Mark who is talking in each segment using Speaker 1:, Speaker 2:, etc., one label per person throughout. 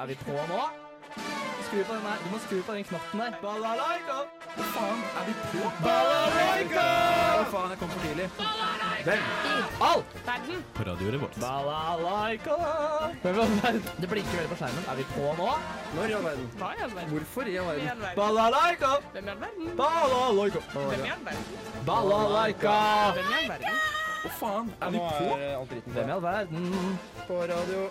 Speaker 1: Er vi på nå? Skru på den der. Du må skru på den knotten der. Balalaika! Hva faen? Er vi på? Balalaika! Hva faen, jeg kom for tidlig. Al!
Speaker 2: Verden.
Speaker 3: På radioen vår.
Speaker 1: Balalaika! Men hva er det? Det blinker veldig på skjermen. Er vi på nå?
Speaker 4: Når i all verden?
Speaker 2: Hva i all verden?
Speaker 4: Hvorfor i all
Speaker 2: Hvem i
Speaker 4: verden?
Speaker 2: all verden?
Speaker 1: Balalaika!
Speaker 2: Hvem i all verden?
Speaker 1: Balalaika!
Speaker 2: Hvem i all verden?
Speaker 1: Balalaika!
Speaker 2: Hvem i all verden?
Speaker 1: Hva faen? Er vi
Speaker 4: Nå
Speaker 1: på?
Speaker 4: er eh, alt dritten
Speaker 1: Hvem i all verden?
Speaker 4: på radio.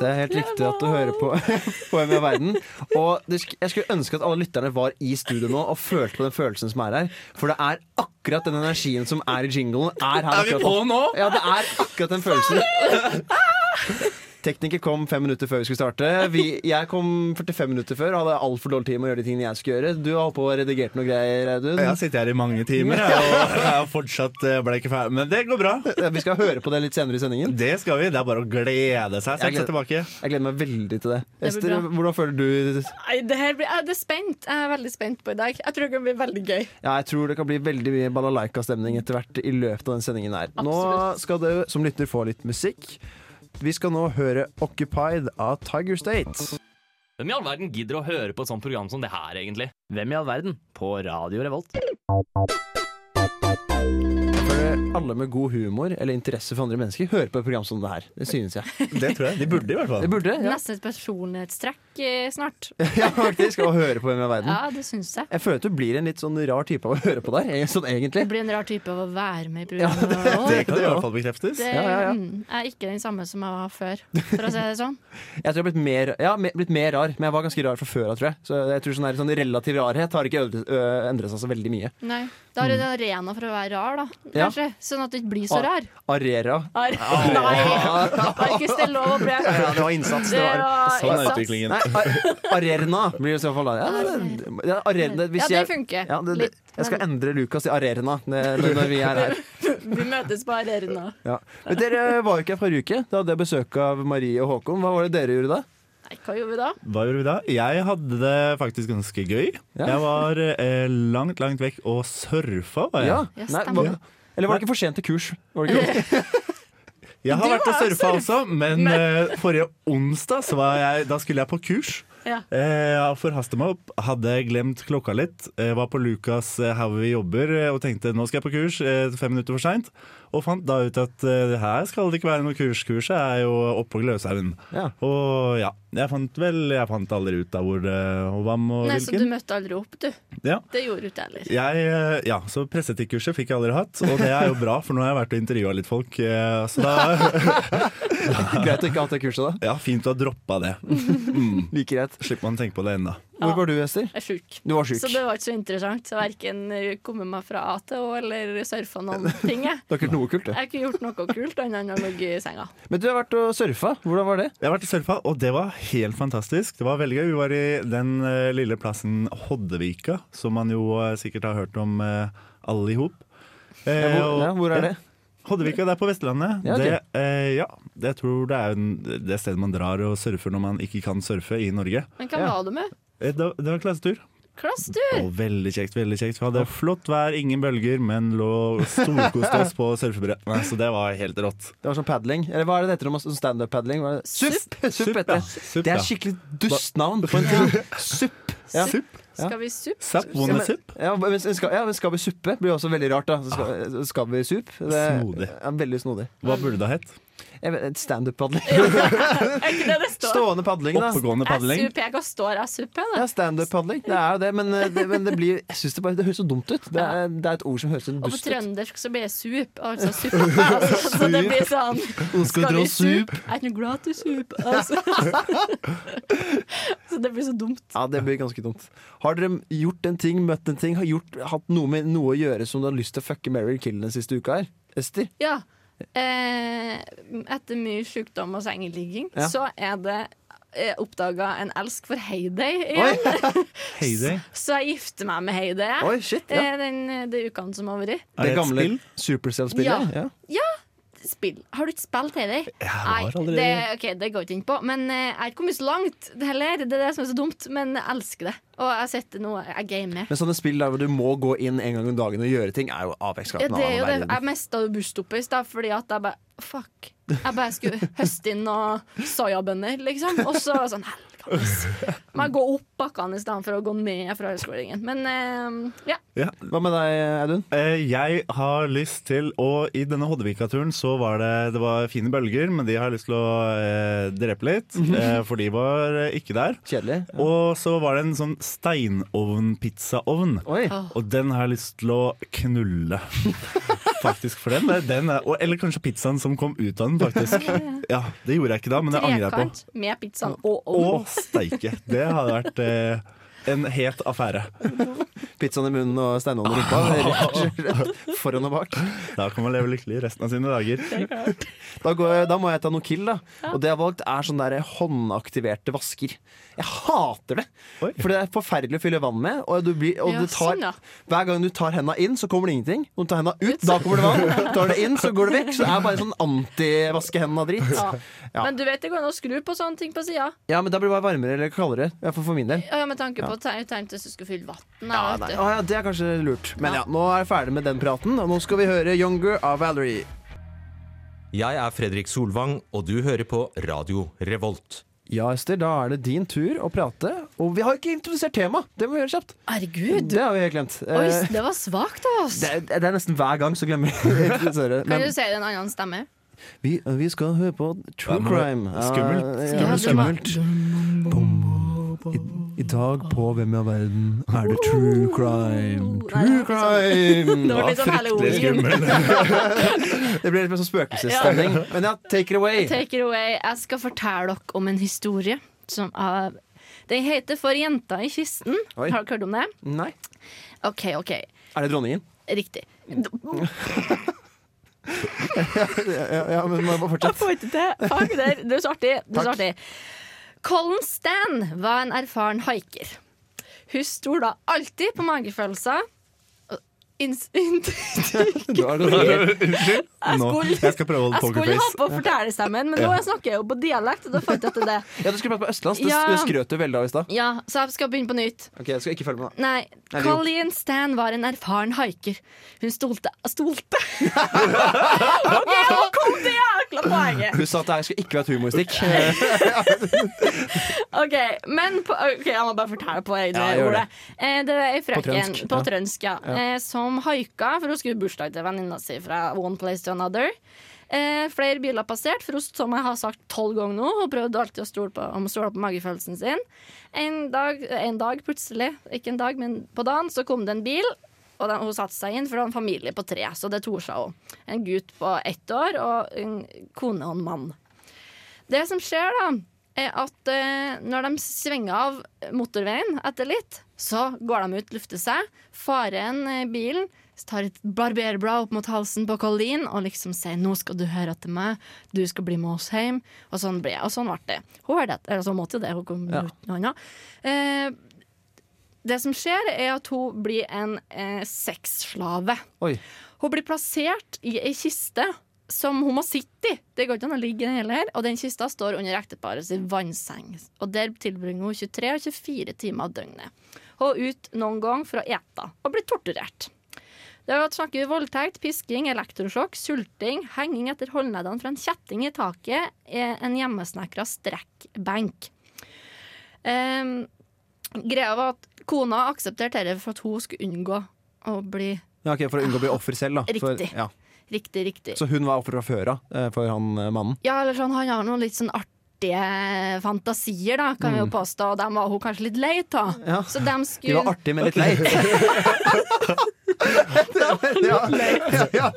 Speaker 5: Det er helt riktig at du hører på på Hvem er verden. Og det, sk- jeg skulle ønske at alle lytterne var i studio nå og følte på den følelsen som er her. For det er akkurat den energien som er i jinglen, er her akkurat nå.
Speaker 3: nå?
Speaker 5: Ja, det er akkurat den følelsen. Tekniker kom fem minutter før vi skulle starte. Vi, jeg kom 45 minutter før og hadde altfor dårlig tid med å gjøre de tingene jeg skulle gjøre. Du har holdt på og redigert noe greier, Audun.
Speaker 3: Jeg har sittet her i mange timer, jeg, og jeg har fortsatt eh, ble ikke ferdig. Men det går bra.
Speaker 5: Vi skal høre på det litt senere i sendingen.
Speaker 3: Det skal vi. Det er bare å glede seg. Sett
Speaker 5: Jeg
Speaker 3: seg tilbake.
Speaker 5: Jeg gleder meg veldig til det.
Speaker 6: blir
Speaker 5: Ester,
Speaker 6: bra.
Speaker 5: hvordan føler du
Speaker 6: Nei, det her blir, jeg er spent. Jeg er veldig spent på i dag. Jeg tror det kan bli veldig gøy.
Speaker 5: Ja, jeg tror det kan bli veldig mye balalaika-stemning etter hvert i løpet av den sendingen her. Nå
Speaker 6: Absolutt.
Speaker 5: skal du som lytter få litt musikk. Vi skal nå høre 'Occupied' av Tiger State.
Speaker 7: Hvem i all verden gidder å høre på et sånt program som det her, egentlig?
Speaker 1: Hvem i all verden? På Radio Revolt.
Speaker 5: For alle med god humor eller interesse for andre mennesker hører på et program som det her. Det synes jeg.
Speaker 3: Det tror jeg. De burde i hvert
Speaker 5: Det
Speaker 3: fall.
Speaker 5: burde, ja.
Speaker 6: Nesten et personlighetstrekk eh, snart.
Speaker 5: ja faktisk. Å høre på Hvem er verden.
Speaker 6: Ja, det syns jeg.
Speaker 5: Jeg føler at du blir en litt sånn rar type av å høre på der. eh, Sånn
Speaker 6: Det
Speaker 5: egentlig.
Speaker 6: blir en rar type av å være med i programmet. Og-
Speaker 3: Det kan i hvert fall bekreftes.
Speaker 6: Det
Speaker 5: Ja, ja, ja.
Speaker 6: mm, er ikke den samme som jeg var før, for å si det sånn.
Speaker 5: Jeg tror jeg har blitt mer, ja, me- blitt mer rar, men jeg var ganske rar fra før av, tror jeg. Så jeg tror sånn, her, sånn relativ rarhet har ikke øde- ø, endret seg så veldig mye.
Speaker 6: Nei. Da har du en arena for å være rar, da.
Speaker 5: Mm. Ja.
Speaker 6: Kanskje. Sånn at du ikke blir så
Speaker 5: Ah.
Speaker 6: rar.
Speaker 5: Arera.
Speaker 6: Ar Nei! Arkus, det er lov å bli.
Speaker 5: Ja, det var innsats.
Speaker 6: Det var
Speaker 3: Sånn er
Speaker 6: innsats.
Speaker 3: utviklingen.
Speaker 5: Nei, ar arena blir det i så fall da. Ja, det, ja, arena, hvis
Speaker 6: Ja, det
Speaker 5: jeg-
Speaker 6: funker.
Speaker 5: Ja, det, det,
Speaker 6: Litt,
Speaker 5: jeg skal endre Lukas til arena når når vi er her.
Speaker 6: Vi møtes på arena.
Speaker 5: Ja. Men dere var jo ikke her forrige uke. Da hadde jeg besøk av Marie og Håkon. Hva var det dere gjorde da?
Speaker 6: Nei, hva gjorde vi da?
Speaker 3: Hva gjorde vi da? Jeg hadde det faktisk ganske gøy.
Speaker 5: Ja.
Speaker 3: Jeg var eh, langt, langt vekk og surfa. Var jeg.
Speaker 6: Ja,
Speaker 5: Nei,
Speaker 6: stemmer.
Speaker 5: var, eller var det ikke for sent til kurs? Var det ikke?
Speaker 3: Jeg har
Speaker 6: Du
Speaker 3: vært og
Speaker 6: har
Speaker 3: surfa også, men eh, forrige onsdag så var jeg, da skulle jeg på kurs.
Speaker 6: Ja.
Speaker 3: Eh, Jeg forhasta meg opp, hadde glemt klokka litt. eh, Var på Lukas eh, How vi jobber eh, og tenkte nå skal jeg på kurs, eh, fem minutter for seint. Og fant da ut at eh, her skal det ikke være noe kurs. Kurset er jo oppå Gløshaugen.
Speaker 5: Ja.
Speaker 3: Og ja, jeg fant vel Jeg fant aldri ut av hvor det og hvem og
Speaker 6: Nei, så du
Speaker 3: hvilken.
Speaker 6: møtte aldri opp, du.
Speaker 3: Ja.
Speaker 6: Det gjorde du ikke heller.
Speaker 3: Jeg, eh, ja, så Presseetikkurset fikk jeg aldri hatt, og det er jo bra, for nå har jeg vært og intervjua litt folk. eh, Så da,
Speaker 5: Greit å ikke ha hatt det kurset da.
Speaker 3: ja, Fint å ha droppa det.
Speaker 5: Like greit.
Speaker 3: Slipper man å tenke på det ennå.
Speaker 5: Hvor var du, Ester?
Speaker 6: Jeg er sjuk.
Speaker 5: Du var sjuk.
Speaker 6: Så det var ikke så interessant. Så verken komme meg fra A til Å eller surfa noen ting. Jeg.
Speaker 5: Det har ikke vært noe kult,
Speaker 6: jeg
Speaker 5: det.
Speaker 6: har ikke gjort noe kult annet enn å ligge i senga.
Speaker 5: Men du har vært og surfa. Hvordan var det?
Speaker 3: Jeg har vært i surfa, og det var helt fantastisk. Det var veldig gøy. Vi var i den eh, lille plassen Hoddevika, som man jo eh, sikkert har hørt om eh, alle i hop. Eh,
Speaker 5: Ja, hvor,
Speaker 3: og-
Speaker 5: ja, hvor er det?
Speaker 3: Hoddevika, det er på Vestlandet.
Speaker 5: Ja, ok.
Speaker 3: det, eh, ja, jeg tror det er en, det stedet man drar og surfer når man ikke kan surfe i Norge.
Speaker 6: Men hva
Speaker 5: Ja.
Speaker 6: var du med?
Speaker 3: Eh, Det, det var klassetur.
Speaker 6: Klass, du!
Speaker 3: Og veldig kjekt. veldig kjekt Vi hadde flott vær, ingen bølger, men lå storkoste oss på surfebrettet. Så det var helt rått.
Speaker 5: Det var sånn paddling. Eller hva er det det heter? om Standup-paddling? Hva er det?
Speaker 6: Supp.
Speaker 5: Supp
Speaker 3: ja.
Speaker 5: heter det.
Speaker 3: Supp,
Speaker 5: Det
Speaker 3: ja.
Speaker 5: er skikkelig dustnavn på en ting. Supp. Ja.
Speaker 3: Supp.
Speaker 5: Ja.
Speaker 6: Skal vi suppe?
Speaker 3: Zapp,
Speaker 5: Ja,
Speaker 3: wanna
Speaker 5: men,
Speaker 3: supp?
Speaker 5: ja, men skal, ja, men skal vi suppe? Blir også veldig rart, da. Så Skal, skal vi sup? Det,
Speaker 3: Snodig.
Speaker 5: Ja, veldig snodig.
Speaker 3: Hva burde det ha hett?
Speaker 5: Jeg vet- Standup-padling.
Speaker 6: Er ikke det det står?
Speaker 5: Stående padling, da.
Speaker 3: Oppegående padling.
Speaker 6: Jeg supper, jeg kan stå her, jeg supper.
Speaker 5: Ja,
Speaker 6: da.
Speaker 5: Standup-padling. Det er jo det, men, eh, det, men det blir Jeg syns det bare Det høres så dumt ut. Det er, det er et ord som høres så
Speaker 6: Og på
Speaker 5: dust ut.
Speaker 6: trøndersk så blir det sup, altså suppe. Altså, så det blir sånn Skal vi sup? Jeg er ikke noe glad til sup. Altså. Så det blir så dumt.
Speaker 5: Ja, det blir ganske dumt. Har dere gjort en ting, møtt en ting, har gjort, hatt noe med noe å gjøre som du har lyst til å fucke Mary Kill den siste uka her? Ester?
Speaker 6: Ja. Eh, etter mye sykdom og sengeligging,
Speaker 5: Ja.
Speaker 6: så er det eh, oppdaga en elsk for Heyday
Speaker 5: Oi!
Speaker 6: igjen.
Speaker 3: Heyday.
Speaker 6: Så jeg gifter meg med Heyday jeg.
Speaker 5: Oi, shit. Ja.
Speaker 6: eh, den, de ukene som har vært.
Speaker 3: Er det
Speaker 5: Det
Speaker 3: et
Speaker 5: gamle
Speaker 3: spill?
Speaker 5: Supercell-spillet?
Speaker 6: Ja.
Speaker 5: ja.
Speaker 6: Spill. Har du ikke spilt Heyday?
Speaker 3: har aldri-
Speaker 6: det, ok, det går jeg ikke inn på. Men eh, jeg har ikke kommet så langt heller. Det er det som er så dumt. Men jeg elsker det. Og jeg har sett noe jeg gamer.
Speaker 5: Men sånne spill der hvor du må gå inn en gang om dagen og gjøre ting, er jo
Speaker 6: Ja,
Speaker 5: Apex-gaten.
Speaker 6: det er jo det. Jeg mista busstoppet i stad fordi at jeg bare Fuck. Jeg bare skulle høste inn noen soyabønner, liksom. Og så var jeg sånn Helvete. Må jeg gå opp bakkene i stedet for å gå ned fra høyskolegangen. Men eh, ja.
Speaker 5: Hva med deg, Audun?
Speaker 3: Eh, Jeg har lyst til å I denne Hoddevika-turen så var det Det var fine bølger, men de har jeg lyst til å eh, drepe litt. Eh, for de var eh, ikke der.
Speaker 5: Kjedelig?
Speaker 3: Og så var det en sånn steinovn-pizzaovn.
Speaker 5: Oi.
Speaker 3: Og den har jeg lyst til å knulle. Faktisk for den. eh, den er, og, eller kanskje pizzaen som kom ut av den, faktisk. Ja, Det gjorde jeg ikke da, men det angrer jeg på.
Speaker 6: Trekant med pizzaen og
Speaker 3: Å,
Speaker 6: ovn.
Speaker 3: steike! Det hadde vært eh, en het affære.
Speaker 5: Pizzaen i munnen og steinålen i rumpa. Foran og bak.
Speaker 3: Da kan man leve lykkelig resten av sine dager.
Speaker 5: Da, går jeg, da må jeg ta noe kill, da. Og det jeg har valgt, er sånne der håndaktiverte vasker. Jeg hater det!
Speaker 3: Oi.
Speaker 5: For det er forferdelig å fylle vann med. Og, du blir, og
Speaker 6: Ja,
Speaker 5: du tar,
Speaker 6: sånn, ja.
Speaker 5: Hver gang du tar henda inn, så kommer det ingenting. Når du tar henda ut, da kommer det vann. Tar det inn, så går det vekk. Så det er bare sånn anti-vaske-henda-dritt.
Speaker 6: Ja.
Speaker 5: Ja.
Speaker 6: Men du vet det går an å skru på sånne ting på sida.
Speaker 5: Ja, men da blir det bare varmere eller kaldere. I hvert fall for min del.
Speaker 6: Ja, med tanke på te- tegn til at du skulle fylle vann.
Speaker 5: Å, ja, det er kanskje lurt. Men ja, nå er jeg ferdig med den praten, og nå skal vi høre Younger av Valerie.
Speaker 8: Jeg er Fredrik Solvang, og du hører på Radio Revolt.
Speaker 5: Ja, Ester, da er det din tur å prate. Og vi har ikke introdusert tema! Det må vi gjøre kjapt.
Speaker 6: Herregud.
Speaker 5: Det har vi helt glemt.
Speaker 6: Oi,
Speaker 5: Eh,
Speaker 6: det var svakt av oss.
Speaker 5: det, er- det er nesten hver gang så glemmer vi å introdusere.
Speaker 6: Kan
Speaker 5: Men
Speaker 6: du si det i en annen stemme?
Speaker 5: vi, vi skal høre på True
Speaker 3: Ja, men-
Speaker 5: Crime. Ja,
Speaker 3: skummelt.
Speaker 5: Ja,
Speaker 6: Ja, det var-
Speaker 5: skummelt. I, I dag på Hvem i all verden er det True Crime. True
Speaker 6: Det
Speaker 5: Crime!
Speaker 6: var litt sånn halloween.
Speaker 5: Det blir litt mer sånn spøkelsesstemning. Men ja, take it away.
Speaker 6: Take it away. Jeg skal fortelle dere om en historie som er Den heter For jenta i kisten.
Speaker 5: Oi.
Speaker 6: Har dere hørt om det?
Speaker 5: Nei.
Speaker 6: OK, OK.
Speaker 5: Er det dronningen?
Speaker 6: Riktig. Jeg
Speaker 5: Ja, ja men må- må fortsett.
Speaker 6: får ikke til. Fuck, det er det er så artig. Det er så artig. Colin Stan var en erfaren haiker. Hun stoler alltid på magefølelser. og inns-
Speaker 5: Da er det dronningen.
Speaker 6: Jeg
Speaker 3: Nå,
Speaker 6: skulle-
Speaker 3: jeg skal prøve å holde
Speaker 6: Jeg skulle ha
Speaker 3: pokerface.
Speaker 6: på fortellerstemmen, men nå snakker jeg jo på dialekt. Og da fant jeg til det.
Speaker 5: Ja, du skulle prate på østlands. Det,
Speaker 6: Ja.
Speaker 5: det skrøt du veldig av i stad.
Speaker 6: Ja, Så jeg skal begynne på nytt.
Speaker 5: Ok, jeg skal ikke følge med, da.
Speaker 6: Nei,
Speaker 5: Eller jo.
Speaker 6: Colleen Stan var en erfaren haiker. Hun stolte Stolte! OK, nå kom det jækla poenget!
Speaker 5: Hun sa at det her skal ikke være et humorstikk.
Speaker 6: Ok, men på, ok, Jeg må bare fortelle på egne
Speaker 5: Ja, gjør
Speaker 6: ord.
Speaker 5: det.
Speaker 6: Eh, det er ei frøken
Speaker 5: trønsk,
Speaker 6: på
Speaker 5: ja.
Speaker 6: trønsk ja. Eh, som haika, for hun skulle i bursdag til venninna si fra one place to another. Eh, flere biler passert, for hun, som jeg har sagt tolv ganger nå, hun prøvde alltid å stole på, om å stole på magefølelsen sin. En dag, en dag plutselig, ikke en dag, men på dagen, så kom det en bil. Og den, hun satte seg inn, for det var en familie på tre, så det torde seg òg. En gutt på ett år og en kone og en mann. Det som skjer da, er at eh, når de svinger av motorveien etter litt, så går de ut, lufter seg, farer en eh, bilen, tar et barberblad opp mot halsen på Colleen og liksom sier 'nå skal du høre etter meg, du skal bli med oss hjem'. Og sånn ble, og sånn ble det. Hun hørte etter, eller så måtte jo det, hun kom
Speaker 5: Ja.
Speaker 6: uten noe annet. Eh, det som skjer, er at hun blir en eh, sexslave.
Speaker 5: Oi.
Speaker 6: Hun blir plassert i ei kiste som hun må sitte i. Det går ikke an å ligge i den heller. Og den kista står under ekteparet sin vannseng. Og der tilbringer hun 23 og 24 timer av døgnet. Hun er ut noen gang for å ete og blir torturert. Det har vært snakk om voldtekt, pisking, elektrosjokk, sulting, henging etter håndleddene fra en kjetting i taket, eh, en hjemmesnekra strekkbenk. Ehm, greia var at kona aksepterte dette for at hun skulle unngå å bli
Speaker 5: Ja, ok, For å unngå å bli offer selv, da. For,
Speaker 6: Riktig.
Speaker 5: ja.
Speaker 6: riktig, riktig.
Speaker 5: Så hun var offer fra før av eh, for han eh, mannen?
Speaker 6: Ja, eller sånn, han har noen litt sånn artige fantasier, da, kan vi jo påstå. Og dem var hun kanskje litt lei av.
Speaker 5: Mm. Ja.
Speaker 6: Så dem
Speaker 5: De
Speaker 6: skulle
Speaker 5: var artig, men litt leit. ja, ja, ja, ja.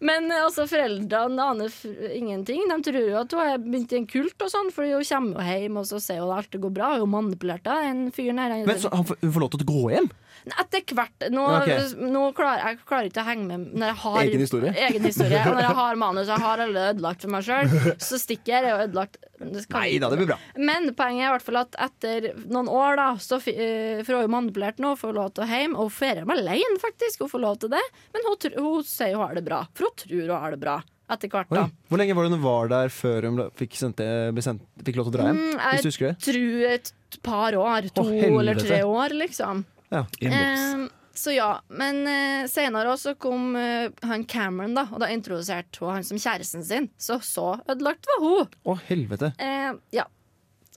Speaker 6: Men eh, altså, foreldrene aner f- ingenting. De tror jo at hun er begynt i en kult, og sånn, fordi hun kommer jo hjem og så ser hun at alt går bra. Hun er jo manipulert av den fyren her.
Speaker 5: Men så han får, hun får lov til å gå hjem?
Speaker 6: Nei, Etter hvert. Nå,
Speaker 5: Ok.
Speaker 6: nå klarer jeg klarer ikke å henge med når jeg har
Speaker 5: Egen historie?
Speaker 6: Egen historie, og når jeg har manus jeg har alle ødelagt for meg sjøl, så stikker jeg. Det er jo ødelagt. Det skal-
Speaker 5: Nei da, det blir bra.
Speaker 6: Men poenget er i hvert fall at etter noen år, da, så, fi- eh, for hun er jo manipulert nå, får hun lov til å hjem, og hun ferier med alene, faktisk. Hun får lov til det, men hun, tr- hun sier hun har det bra. For hun tror hun har det bra. etter hvert,
Speaker 5: Oi.
Speaker 6: da.
Speaker 5: Hvor lenge var det hun var der før hun ble- fikk, sendt, ble sendt, fikk lov til å dra hjem?
Speaker 6: Mm, jeg-
Speaker 5: hvis du husker det?
Speaker 6: Tror et par år. To
Speaker 5: helvete.
Speaker 6: eller tre år, liksom.
Speaker 3: Inbox.
Speaker 6: Eh, så ja, men eh, senere også kom eh, han Cameron, da, og da introduserte hun han som kjæresten sin. Så så ødelagt var hun.
Speaker 5: Å, helvete.
Speaker 6: Eh, ja.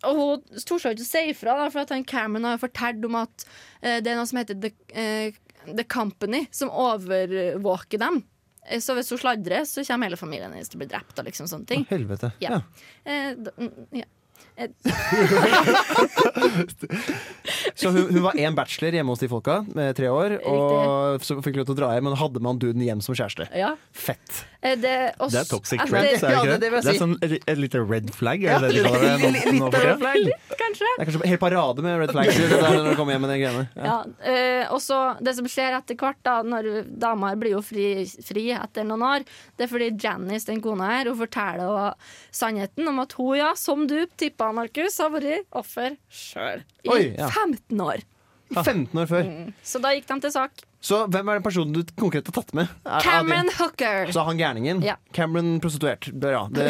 Speaker 6: Og hun torde seg ikke å si ifra, da, for at han Cameron har fortalt om at eh, det er noe som heter The, eh, The Company, som overvåker dem. Eh, Så hvis hun sladrer, så kommer hele familien hennes til å bli drept. og liksom sånne ting.
Speaker 5: Å, helvete.
Speaker 6: Ja.
Speaker 5: Ja.
Speaker 6: Eh, da, mm, ja.
Speaker 5: Så hun, hun var én bachelor hjemme hos de folka med tre år, og så fikk hun lov til å dra hjem, men hadde man duden hjem som kjæreste.
Speaker 6: ja.
Speaker 5: Fett.
Speaker 6: Eh, det, også, altså,
Speaker 3: Det er toxic
Speaker 6: etter-
Speaker 3: friends, er det
Speaker 2: Ja,
Speaker 3: ikke
Speaker 2: det er
Speaker 3: det?
Speaker 2: det jeg vil
Speaker 3: Det er
Speaker 2: si.
Speaker 3: sånn et et lite red flag, er det det de kaller det nå- nå for tida?
Speaker 6: Kanskje.
Speaker 5: Det er kanskje en hel parade med red flags det der når du kommer hjem med de greiene. Ja.
Speaker 6: Ja, eh, og så det som skjer etter hvert, da, når damer blir jo fri, fri etter noen år, det er fordi Janice, den kona her, hun forteller jo sannheten om at hun, ja, som du tippa, Markus, har vært offer sjøl i
Speaker 5: Oi, ja.
Speaker 6: 15 år.
Speaker 5: 15 år før.
Speaker 6: Så da gikk de til sak.
Speaker 5: Så hvem er den personen du konkret har tatt med? Er- er det-
Speaker 6: Cameron Hooker!
Speaker 5: Så han gærningen?
Speaker 6: Ja.
Speaker 5: Cameron prostituert. Bra. Det,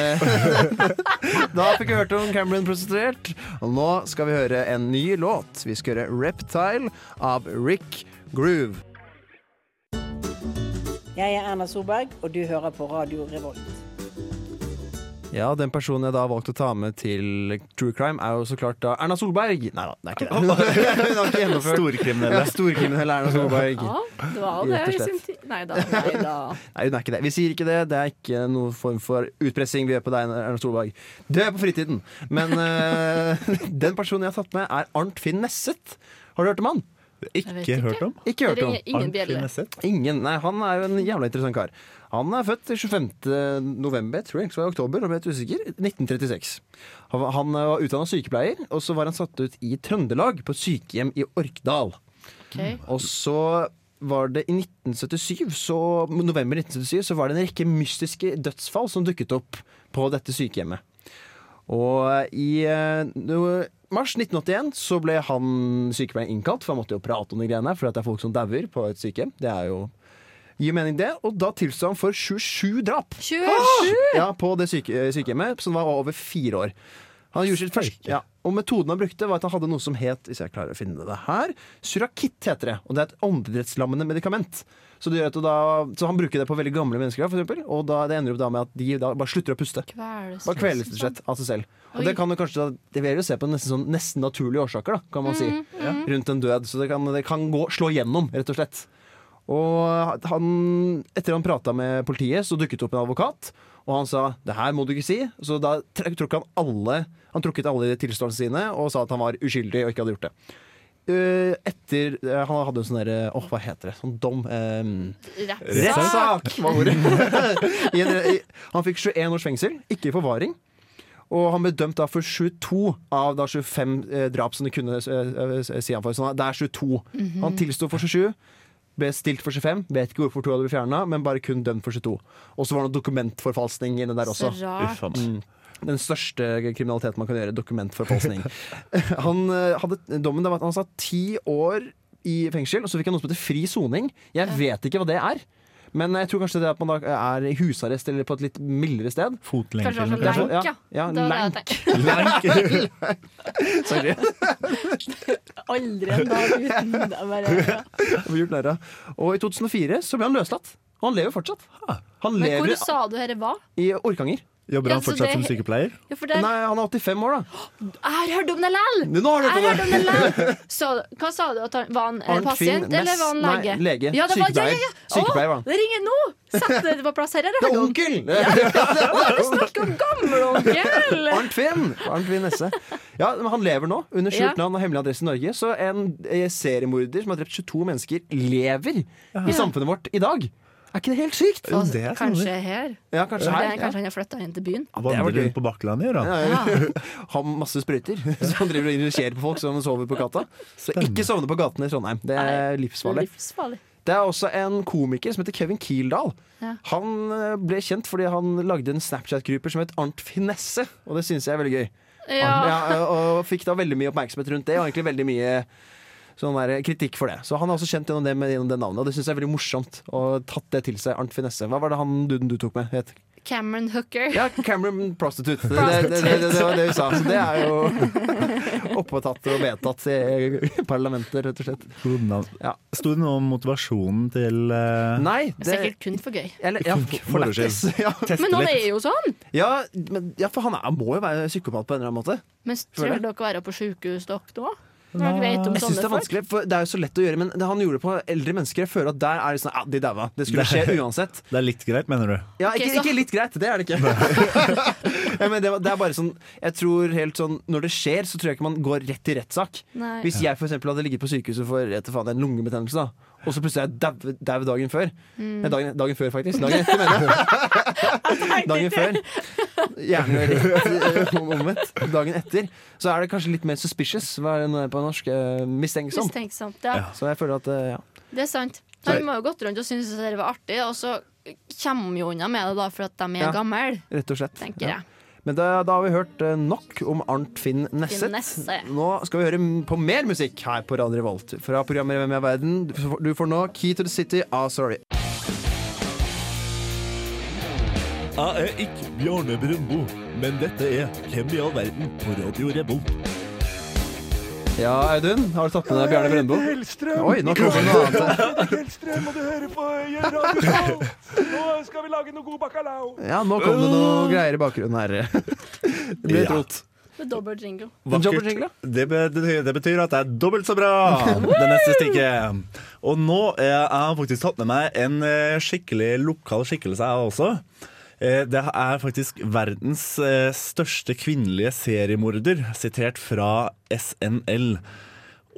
Speaker 5: da fikk vi hørt om Cameron prostituert. Og nå skal vi høre en ny låt. Vi skal høre Reptile av Rick Groove.
Speaker 9: Jeg er Erna Solberg, og du hører på Radio Revolt.
Speaker 5: Ja, den personen jeg da valgte å ta med til True Crime, er jo så klart da Erna Solberg. Nei da, det er ikke det. Hun har ikke gjennomført. Ja,
Speaker 3: Storkriminelle.
Speaker 5: Storkriminell Erna Solberg.
Speaker 6: Ja, det var jo det
Speaker 5: Rett og
Speaker 6: i sin tid. Nei da, nei da.
Speaker 5: Nei, hun er ikke det. Vi sier ikke det. Det er ikke noen form for utpressing vi gjør på deg, Erna Solberg. Det er på fritiden. Men eh, den personen jeg har tatt med, er Arnt Finn Nesset. Har du hørt om han?
Speaker 6: vet
Speaker 3: Ikke
Speaker 6: ikke.
Speaker 3: hørt om?
Speaker 5: Ikke
Speaker 6: Det
Speaker 5: hørt om.
Speaker 6: ringer ingen bjeller.
Speaker 5: Ingen. Nei, han er jo en jævla interessant kar. Han er født 25. november, tror jeg egentlig det var i oktober, nå ble jeg litt usikker, 1936. Han var- Han var utdanna sykepleier, og så var han satt ut i Trøndelag, på et sykehjem i Orkdal.
Speaker 6: Ok.
Speaker 5: Og så var det i 1977, så, november 1977 så var det en rekke mystiske dødsfall som dukket opp på dette sykehjemmet. Og i eh, no- mars 1981 så ble han sykepleieren innkalt, for han måtte jo prate om de greiene her, for at det er folk som dauer på et sykehjem. Det er jo Gir mening det, og da tilsto han for 27 drap Ah!
Speaker 6: 27!
Speaker 5: ja, på det syke, eh, sykehjemmet, som var over fire år. Han gjorde sitt første, ja. Og metoden han brukte, var at han hadde noe som het hvis jeg klarer å finne det her, Surakitt heter det. Og det er et åndedrettslammende medikament. Så, det gjør at du da, så han bruker det på veldig gamle mennesker, da, for eksempel, og da, det ender opp da med at de da bare slutter å puste. Bare kveles rett og slett av seg selv. Og
Speaker 6: Oi.
Speaker 5: det kan du kanskje da, det vil jeg jo se på nesten, sånn, nesten naturlige årsaker, da, kan man si. Rundt en død. Så det kan, det kan gå, slå gjennom, rett og slett. Og han, etter han prata med politiet, så dukket det opp en advokat. Og han sa 'det her må du ikke si', så da tr- trukket han alle Han trukket alle tilståelsene sine og sa at han var uskyldig og ikke hadde gjort det. Eh, etter eh, Han hadde en sånn derre Åh, hva heter det? Sånn dom. eh, Rettssak! var ordet. I en, i, han fikk 21 års fengsel, ikke i forvaring. Og han ble dømt da for 22 av da 25 eh, drap som de kunne eh, eh, si han for. Så han- det er 22. Han tilsto for 27. Ble stilt for 25, vet ikke hvorfor to hadde blitt fjerna, men bare kun dømt for 22. Og så var det noe dokumentforfalskning inne der også.
Speaker 6: Så rart.
Speaker 3: Uff a meg.
Speaker 5: Den største kriminaliteten man kan gjøre, dokumentforfalskning. han eh, hadde dommen der var at han satt ti år i fengsel, og så fikk han noe som heter fri soning. Jeg vet ikke hva det er. Men jeg tror kanskje det er at man da er i husarrest eller på et litt mildere sted.
Speaker 6: Kanskje det var
Speaker 3: Fotlenke.
Speaker 6: sånn lenk, ja.
Speaker 5: Ja, ja,
Speaker 6: Det var det jeg
Speaker 5: lenk.
Speaker 6: tenkte.
Speaker 3: Lenk.
Speaker 5: Sorry.
Speaker 6: Aldri en dag uten det. Bare.
Speaker 5: Jeg blir gjort narr av. Og i 2004 så ble han løslatt. Og han lever fortsatt. Han
Speaker 6: Men
Speaker 5: lever
Speaker 6: hvor sa du dette var?
Speaker 5: i Orkanger.
Speaker 3: Jobber han
Speaker 6: Ja, så
Speaker 3: fortsatt som
Speaker 6: det-
Speaker 3: sykepleier?
Speaker 6: Ja, for det,
Speaker 5: Nei, han er 85 år, da.
Speaker 6: jeg har hørt om det lell!
Speaker 5: Nå har du
Speaker 6: Jeg har
Speaker 5: hørt
Speaker 6: hørt
Speaker 5: om
Speaker 6: om
Speaker 5: det!
Speaker 6: det lell! Så, hva sa du? At han, var han eh,
Speaker 5: Arnt Finn
Speaker 6: pasient, eller var han
Speaker 5: Næss-
Speaker 6: lege?
Speaker 5: nei, lege.
Speaker 6: Ja, det var, ja,
Speaker 5: Sykepleier.
Speaker 6: ja, ja.
Speaker 5: Sykepleier var
Speaker 6: Å,
Speaker 5: han.
Speaker 6: det ringer nå! Sett dere på plass her. her
Speaker 5: Det
Speaker 6: er
Speaker 5: er
Speaker 6: det
Speaker 5: onkel!
Speaker 6: Du snakker om gammel onkel!
Speaker 5: Arnt Finn! Arnt Finn Nesse. Ja, men han lever nå, under skjult
Speaker 6: Ja.
Speaker 5: navn og hemmelig adresse i Norge. Så en eh, seriemorder som har drept 22 mennesker, lever i samfunnet vårt i dag. Er ikke det helt sykt?
Speaker 3: det
Speaker 6: Og
Speaker 3: er snodig.
Speaker 6: Altså, kanskje her.
Speaker 5: Ja, kanskje
Speaker 6: Det
Speaker 5: her.
Speaker 6: er,
Speaker 5: ja.
Speaker 6: kanskje han har flytta inn til byen.
Speaker 5: var
Speaker 3: Vandrer
Speaker 5: gøy.
Speaker 3: rundt på Bakkland, gjør han?
Speaker 5: Ja. Har masse sprøyter, så han driver og injiserer på folk som sover på gata. Så ikke sovne på gatene i Trondheim. Det er livsfarlig.
Speaker 6: Livsfarlig.
Speaker 5: Det er også en komiker som heter Kevin Kildahl.
Speaker 6: Ja.
Speaker 5: Han eh, ble kjent fordi han lagde en Snapchat-gruppe som het Arnt Finesse, og det syns jeg er veldig gøy.
Speaker 6: Ja.
Speaker 5: Ja, og fikk da veldig mye oppmerksomhet rundt det, og egentlig veldig mye sånn der, kritikk for det. Så han er også kjent gjennom det, med, gjennom det navnet, og det syns jeg er veldig morsomt. Og tatt det til seg, Arnt Finesse. Hva var det han duden du tok med, het?
Speaker 6: Cameron Hooker.
Speaker 5: Ja, Cameron prostitute. Det, det, det, det, det var det hun sa. Så det er jo oppåtatt og vedtatt i parlamentet, rett og slett.
Speaker 3: Godt navn.
Speaker 5: Ja.
Speaker 3: Sto det noe om motivasjonen til eh,
Speaker 5: Nei, det
Speaker 6: Sikkert kun for gøy.
Speaker 5: eller, ja, for
Speaker 3: Moro
Speaker 5: lættis. Ja.
Speaker 6: Men han er jo sånn!
Speaker 5: Ja, men, ja, for han er, må jo være psykopat på en eller annen måte.
Speaker 6: Men
Speaker 5: Tror
Speaker 6: tror
Speaker 5: det.
Speaker 6: dere å være på sjukehus, dere da? Hva vet om
Speaker 5: Jeg synes Det
Speaker 6: sånne
Speaker 5: er
Speaker 6: folk?
Speaker 5: vanskelig, for det er jo så lett å gjøre, men det han gjorde det på eldre mennesker, jeg føler at der er det sånn ja, de daua. Det skulle skje uansett.
Speaker 3: Det er litt greit, mener du?
Speaker 5: Ja,
Speaker 6: Ok,
Speaker 5: ikke,
Speaker 6: så-
Speaker 5: ikke litt greit, det er det ikke. ja, men det, var- det er bare sånn Jeg tror helt sånn Når det skjer, så tror jeg ikke man går rett til rettssak.
Speaker 6: Nei.
Speaker 5: Hvis jeg for eksempel hadde ligget på sykehuset for jeg vet faen, en lungebetennelse, da, og så plutselig er jeg dau- dau dagen før
Speaker 6: Mm.
Speaker 5: Nei, dagen, dagen før, faktisk. Dagen etter, mener jeg. Dagen før. Gjerne rett eh, omvendt. Dagen etter. Så er det kanskje litt mer suspicious. Hva er det nå er på norsk? Eh, Mistenksom.
Speaker 6: Mistenksomt. Ja.
Speaker 5: Så jeg føler at eh, ja.
Speaker 6: Det er sant.
Speaker 5: Sorry.
Speaker 6: Han må jo gått rundt og synes at det var artig, og så kommer de jo unna med det da for at de er
Speaker 5: Ja.
Speaker 6: gamle,
Speaker 5: Rett og slett.
Speaker 6: tenker
Speaker 5: Ja.
Speaker 6: jeg.
Speaker 5: Men da, da har vi hørt eh, nok om Arnt Finn Nesset.
Speaker 6: Finn Nesse.
Speaker 5: Nå skal vi høre m- på mer musikk her på Radio Revolt fra programmet Hvem er verden. Du får- Du får nå Key to the City av Sorry.
Speaker 10: Jeg er ikke Bjarne Brøndbo, men dette er Hvem i all verden på Radio Revolt.
Speaker 5: Ja, Audun, har du tatt med deg Bjarne Brøndbo?
Speaker 10: Hellstrøm!
Speaker 5: Oi, nå kommer det noe annet.
Speaker 10: Hellstrøm, og du hører på Radio Revolt! Nå skal vi lage noe god bacalao!
Speaker 5: Ja, nå kom det noe greier i bakgrunnen her. Det ble
Speaker 3: Ja.
Speaker 5: rot.
Speaker 6: Det er dobbel jingle.
Speaker 5: Den jobber jingle,
Speaker 3: Det, be- det det betyr at det er dobbelt så bra! Det neste stikket. Og nå eh, jeg har jeg faktisk tatt med meg en eh, skikkelig lokal skikkelse, jeg også. Eh, Det er faktisk verdens eh, største kvinnelige seriemorder, sitert fra SNL.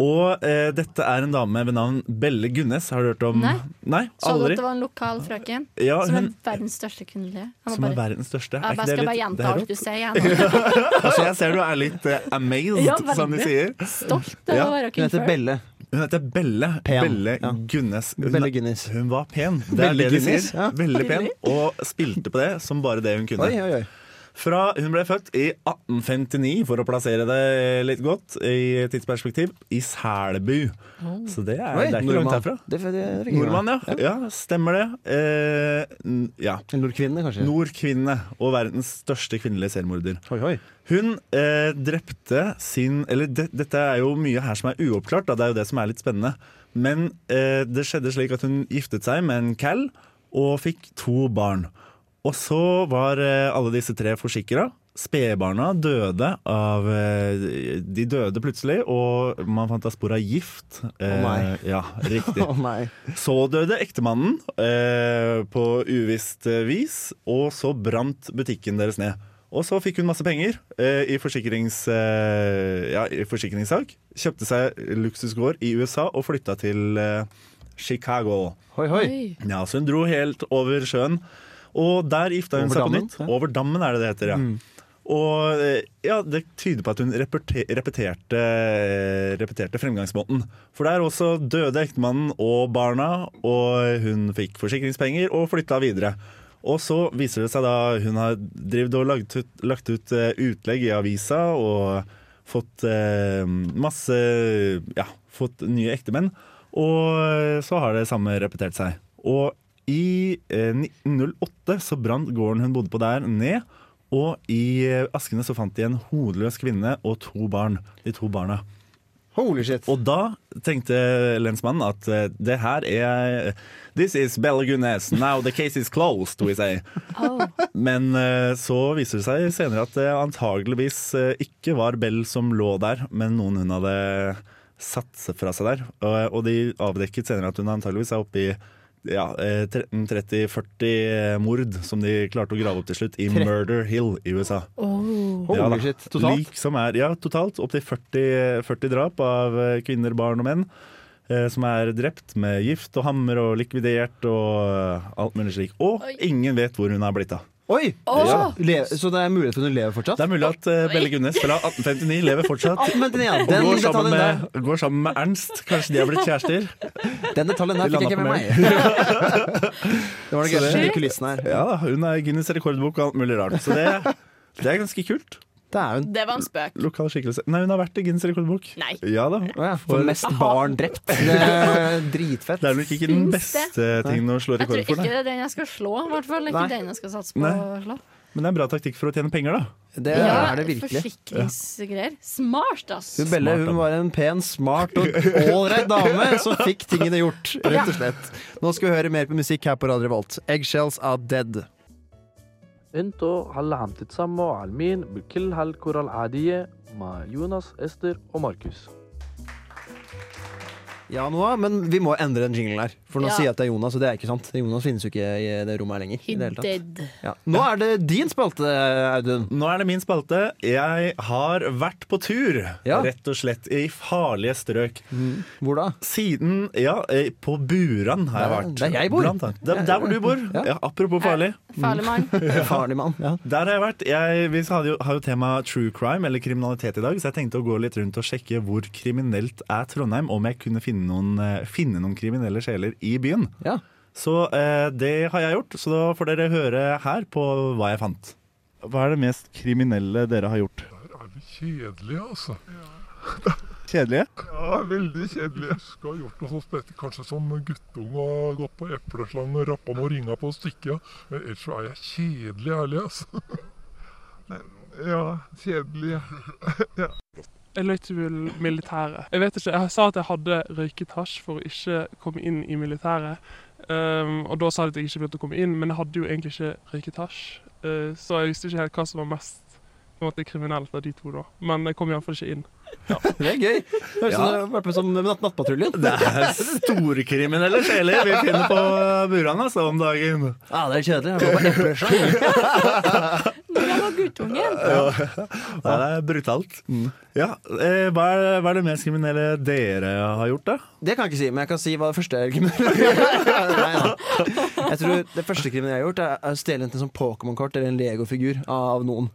Speaker 3: Og eh, dette er en dame ved navn Belle Gunnes. Har du hørt om
Speaker 6: Nei.
Speaker 3: Nei
Speaker 6: Så du at
Speaker 3: aldri.
Speaker 6: det var en lokal frøken?
Speaker 3: Ja,
Speaker 6: som er
Speaker 3: hun-
Speaker 6: verdens største kvinnelige? Jeg må
Speaker 3: Som er
Speaker 6: bare-
Speaker 3: verdens største. Er
Speaker 6: Jeg
Speaker 3: ikke
Speaker 6: bare
Speaker 3: det
Speaker 6: skal bare
Speaker 3: litt- det
Speaker 6: gjenta
Speaker 3: er
Speaker 6: alt
Speaker 3: rått?
Speaker 6: du sier igjen.
Speaker 3: Altså, jeg ser du er litt eh, amazed,
Speaker 6: Ja,
Speaker 3: som de
Speaker 6: veldig.
Speaker 3: sier.
Speaker 6: Stolt av
Speaker 3: Ja,
Speaker 6: å være
Speaker 5: Hun heter
Speaker 6: kvinnfolk.
Speaker 5: Belle.
Speaker 3: Hun heter Belle.
Speaker 5: Pen.
Speaker 3: Belle
Speaker 5: Ja.
Speaker 3: Gunnes. Hun,
Speaker 5: Belle Guinness.
Speaker 3: hun var pen, det er
Speaker 5: Belle
Speaker 3: det de sier.
Speaker 5: Guinness, ja.
Speaker 3: Veldig pen, og spilte på det som bare det hun kunne.
Speaker 5: Oi, oi, oi.
Speaker 3: Fra hun ble født i 1859, for å plassere det litt godt i tidsperspektiv, i Selbu.
Speaker 6: Oh.
Speaker 3: Så det er,
Speaker 5: oi
Speaker 3: det er ikke langt
Speaker 5: nordmann.
Speaker 3: herfra.
Speaker 5: Det, det, det, er ikke
Speaker 3: Nordmann, ja. ja. Stemmer det. Eh, n- ja.
Speaker 5: En Nordkvinne, kanskje.
Speaker 3: Nordkvinne og verdens største kvinnelige selvmorder.
Speaker 5: Oi, oi.
Speaker 3: Hun eh, drepte sin Eller det- dette er jo mye her som er uoppklart, da. det er jo det som er litt spennende. Men eh, det skjedde slik at hun giftet seg med en cal og fikk to barn. Og så var eh, alle disse tre forsikra. Spedbarna døde av eh, De døde plutselig, og man fant da spor av gift. Eh,
Speaker 5: nei.
Speaker 3: ja, riktig.
Speaker 5: Å nei.
Speaker 3: Så døde ektemannen eh, på uvisst eh, vis, og så brant butikken deres ned. Og så fikk hun masse penger eh, i, forsikrings, eh, ja, i forsikringssak. Kjøpte seg luksusgård i USA og flytta til eh, Chicago.
Speaker 5: Hoi, hoi.
Speaker 6: Oi.
Speaker 3: Ja, så hun dro helt over sjøen. Og der gifta hun
Speaker 5: Over
Speaker 3: seg på
Speaker 5: dammen,
Speaker 3: nytt.
Speaker 5: ja. Mm.
Speaker 3: Over dammen er det det heter, ja. Og eh, ja, det tyder på at hun reperte- repeterte, eh, repeterte fremgangsmåten. For der også døde ektemannen og barna, og hun fikk forsikringspenger og flytta videre. Og så viser det seg da hun har drevet og lagt ut, lagt ut eh, utlegg i avisa og fått eh, masse Ja, fått nye ektemenn. Og eh, så har det samme repetert seg. Og i eh, 1908 så brant gården hun bodde på der, ned. Og i eh, askene så fant de en hodeløs kvinne og to barn. De to barna.
Speaker 5: Holy shit.
Speaker 3: Og da tenkte lensmannen at eh, det her er This is Belle Gunnes. Now the case is closed, we say.
Speaker 6: Oh.
Speaker 3: Men eh, så viser det seg senere at det antageligvis eh, ikke var Bell som lå der, men noen hun hadde satt seg fra seg der. Og, og de avdekket senere at hun antageligvis er oppe i ja, eh, 13-30-40 eh, mord, som de klarte å grave opp til slutt, i Murder Hill i USA.
Speaker 5: Holy
Speaker 3: Ja da.
Speaker 5: shit. Totalt.
Speaker 3: Lik som er, ja, totalt. Opptil 40, 40 drap av eh, kvinner, barn og menn. eh, Som er drept med gift og hammer og likvidert og eh, alt mulig slik. Og
Speaker 6: Oi.
Speaker 3: ingen vet hvor hun har blitt av.
Speaker 5: Oi!
Speaker 6: Åh.
Speaker 5: Ja. Le så det er mulighet for at hun lever fortsatt?
Speaker 3: Det er mulig at eh, Belle Gunnes fra 1859 lever fortsatt.
Speaker 5: Ah, men den, ja,
Speaker 3: Og
Speaker 5: den,
Speaker 3: går sammen,
Speaker 5: detaljen der,
Speaker 3: med, går sammen med Ernst. Kanskje de har blitt kjærester.
Speaker 5: den detaljen der fikk jeg
Speaker 3: Vi
Speaker 5: ikke med meg.
Speaker 3: lander
Speaker 5: det var det gøyeste i kulissen her.
Speaker 3: Ja, da, Hun er i Guinness rekordbok og alt mulig rart. Så det, det er ganske kult.
Speaker 5: Det er jo en
Speaker 11: Det var en spøk.
Speaker 3: lokal skikkelse. Nei, hun har vært i Guinness rekordbok.
Speaker 11: Nei.
Speaker 3: Ja da.
Speaker 5: For mest barn drept. Det er dritfett.
Speaker 3: Det er nok ikke den
Speaker 6: Finnes det?
Speaker 3: beste tingen å slå
Speaker 6: Jeg
Speaker 3: rekord
Speaker 6: tror ikke
Speaker 3: for,
Speaker 6: det
Speaker 3: nei.
Speaker 6: er den jeg skal slå. I hvert fall ikke
Speaker 3: Nei.
Speaker 6: den jeg skal satse på
Speaker 3: Nei.
Speaker 6: å slå.
Speaker 3: Men det er en bra taktikk for å tjene penger, da.
Speaker 6: Forsikringsgreier. Smart, ass!
Speaker 5: Hun Belle hun var en pen, smart og ålreit dame som fikk tingene gjort, rett og slett. Nå skal vi høre mer på musikk her på Radio Revolt. Eggshells are dead.
Speaker 12: انتوا هلا عم تتسمعوا على المين بكل هالكرة العادية مع يونس استر وماركوس
Speaker 5: Ja, Noah, men vi må endre den jinglen her. For nå
Speaker 6: Ja.
Speaker 5: sier jeg at det er Jonas, og det er ikke sant. Jonas finnes jo ikke i det rommet her lenger. i det hele tatt.
Speaker 6: Dead.
Speaker 5: Ja. Nå er det din spalte, Audun.
Speaker 3: Nå er det min spalte. Jeg har vært på tur, rett og slett, i farlige strøk.
Speaker 5: Hvor da?
Speaker 3: Siden Ja, eh, på Buran har jeg
Speaker 5: Der-
Speaker 3: vært.
Speaker 5: der jeg bor.
Speaker 3: Blant annet. Der, der hvor du bor.
Speaker 5: Ja.
Speaker 3: Ja, apropos farlig.
Speaker 6: Farlig mann.
Speaker 5: Farlig mann, ja.
Speaker 3: Der har jeg vært. Jeg, vi har jo, har jo tema true crime, eller kriminalitet, i dag, så jeg tenkte å gå litt rundt og sjekke hvor kriminelt er Trondheim, om jeg kunne finne noen, eh, finne noen kriminelle sjeler i byen. Så eh, det har jeg gjort, så da får dere høre her på hva jeg fant. Hva er det mest kriminelle dere har gjort?
Speaker 13: Kjedelig, altså.
Speaker 3: Kjedelige?
Speaker 13: Ja, veldig kjedelig. Jeg skulle ha gjort noe sånt spesielt, kanskje som guttunge og gått på epleslang og rappa noen ringer på og stikke av. Men ellers så er jeg kjedelig ærlig, altså. ja, kjedelig. ja.
Speaker 14: Jeg løy til militæret. Jeg vet ikke, jeg sa at jeg hadde røyket hasj for å ikke komme inn i militæret. Ehm, og da sa de at jeg ikke begynte å komme inn, men jeg hadde jo egentlig ikke røyket hasj. Eh, så jeg visste ikke helt hva som var mest på en måte, kriminelt av de to, da. Men jeg kom iallfall ikke inn.
Speaker 5: Det er gøy. Det høres ut som du har vært med som natt Nattpatruljen.
Speaker 3: Det er storkriminelle sjeler vi finner på Buran altså, om dagen.
Speaker 5: Ja, det er kjedelig. Jeg går på epleslang.
Speaker 3: Ja. Mm. Nei, det er brutalt. Ja, eh, hva, er, hva er det mest kriminelle dere har gjort, da?
Speaker 5: Det kan jeg ikke si, men jeg kan si hva det første kriminelle Nei, da. Jeg tror det første kriminelle jeg har gjort, er å stjele enten som Pokémon-kort eller en Lego-figur av noen.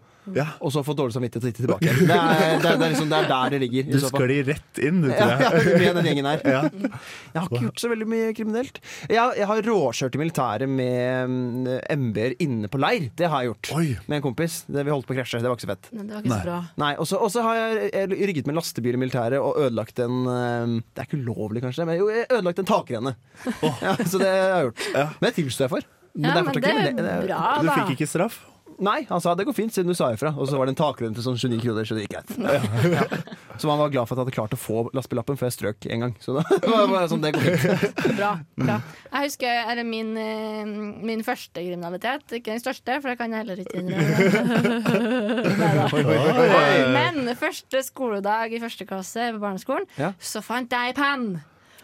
Speaker 5: Og så få dårlig samvittighet og gitt det tilbake. Det er, det, er, det, er liksom, det er der det ligger. i
Speaker 3: Du
Speaker 5: så fall.
Speaker 3: sklir rett inn, du,
Speaker 5: Ja,
Speaker 3: tror
Speaker 5: ja,
Speaker 3: jeg.
Speaker 5: med den gjengen her.
Speaker 3: Ja.
Speaker 5: Jeg har ikke gjort så veldig mye kriminelt. Jeg, jeg har råkjørt i militæret med mm, MB-er inne på leir. Det har jeg gjort. Med en kompis. Det, vi holdt på å krasje. Det var ikke så fett.
Speaker 6: Nei, det var ikke så bra.
Speaker 5: Nei, Og så og så har jeg, jeg rygget med en lastebil i militæret og ødelagt en eh, Det er ikke ulovlig, kanskje, men jo, jeg ødelagt en takrenne. Ja, så det har jeg gjort. Men det tilstår jeg for.
Speaker 6: Ja,
Speaker 5: det er
Speaker 6: men
Speaker 5: fortsatt
Speaker 6: det er
Speaker 5: kriminelt. Det- det-
Speaker 6: bra, Du da. fikk
Speaker 3: ikke straff?
Speaker 5: Nei, han sa det går fint, siden du sa ifra. Og så var det en takrenne til sånn 29 kroner, så det gikk greit. Ja. Så man var glad for at jeg hadde klart å få lastebillappen, for jeg strøk en gang. Så da var det bare sånn, det går fint.
Speaker 6: Bra. bra. Jeg husker er det min, eh, min første kriminalitet. Ikke den største, for det kan jeg heller ikke innrømme. Neida. Men første skoledag i første klasse på barneskolen,
Speaker 5: Ja.
Speaker 6: så fant jeg en penn.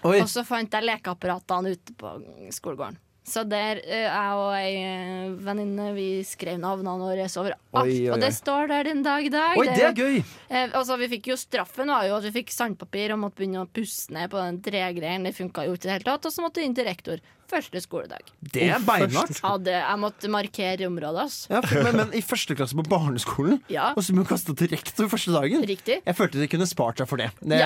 Speaker 5: Oi.
Speaker 6: Og så fant jeg lekeapparatene ute på skolegården. Så der eh, jeg og ei eh, venninne Vi skrev navnene våre over alt.
Speaker 5: Oi, oi,
Speaker 6: Og det
Speaker 5: oi.
Speaker 6: står der den dag i dag.
Speaker 5: Oi, det er gøy!
Speaker 6: Eh, altså, vi fikk jo straffen var jo at vi fikk sandpapir og måtte begynne å pusse ned på den tregreien. Det funka jo ikke i det hele tatt. Og så måtte vi inn til rektor. Første skoledag.
Speaker 5: Det er beinhardt.
Speaker 6: Ja, det, jeg måtte markere området, ass.
Speaker 5: Ja, for- men, men i første klasse på barneskolen,
Speaker 6: Ja.
Speaker 5: og så ble hun kasta til rektor første dagen.
Speaker 6: Riktig.
Speaker 5: Jeg følte de kunne spart seg for det. Det,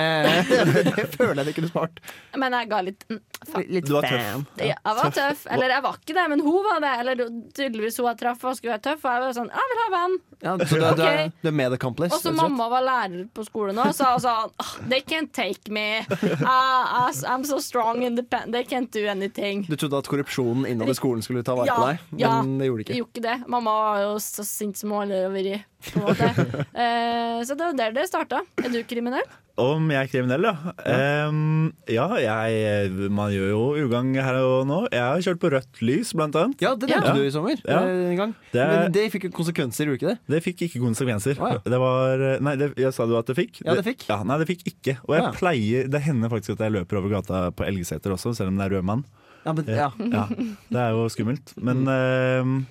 Speaker 5: det føler jeg de kunne spart.
Speaker 6: Men jeg ga litt mm, faen.
Speaker 5: Litt Du var tøff.
Speaker 6: Ja, Jeg var tøff. Eller jeg var ikke det, men hun var det. Eller tydeligvis hun jeg traff, var skulle være tøff. Og jeg var sånn Jeg vil ha venn.
Speaker 5: Ja, så du, er- du, er,
Speaker 6: Ok.
Speaker 5: du er med the accomplice.
Speaker 6: Og så
Speaker 5: rett og slett.
Speaker 6: mamma var lærer på skolen også, og sa sånn «Åh, They can't take me. Ah, I, I'm so strong independent. They can't do anything.
Speaker 5: Du trodde at korrupsjonen innad i skolen skulle ta vare
Speaker 6: Ja,
Speaker 5: på deg, men
Speaker 6: ja.
Speaker 5: det gjorde det
Speaker 6: Jeg
Speaker 5: ikke.
Speaker 6: gjorde ikke det. Mamma var jo så sint som hun aldri har vært. på en måte. Eh, så det var der det starta. Er du kriminell?
Speaker 3: Om jeg er kriminell, ja. Ehm, ja, jeg, man gjør jo ugagn her og nå. Jeg har kjørt på rødt lys, blant annet.
Speaker 5: Ja, det nevnte du i sommer eh, en gang. Men det fikk jo konsekvenser, gjorde ikke det?
Speaker 3: Det fikk ikke konsekvenser. Det var eh, Nei, det, jeg sa du at det fikk?
Speaker 5: Ja, det fikk.
Speaker 3: Ja, nei, det fikk ikke. Og jeg
Speaker 5: Å, ja.
Speaker 3: pleier Det hender faktisk at jeg løper over gata på Elgeseter også, selv om det er rød mann.
Speaker 5: Ja, men, ja.
Speaker 3: Det er jo skummelt. Men
Speaker 5: Mm.
Speaker 3: eh,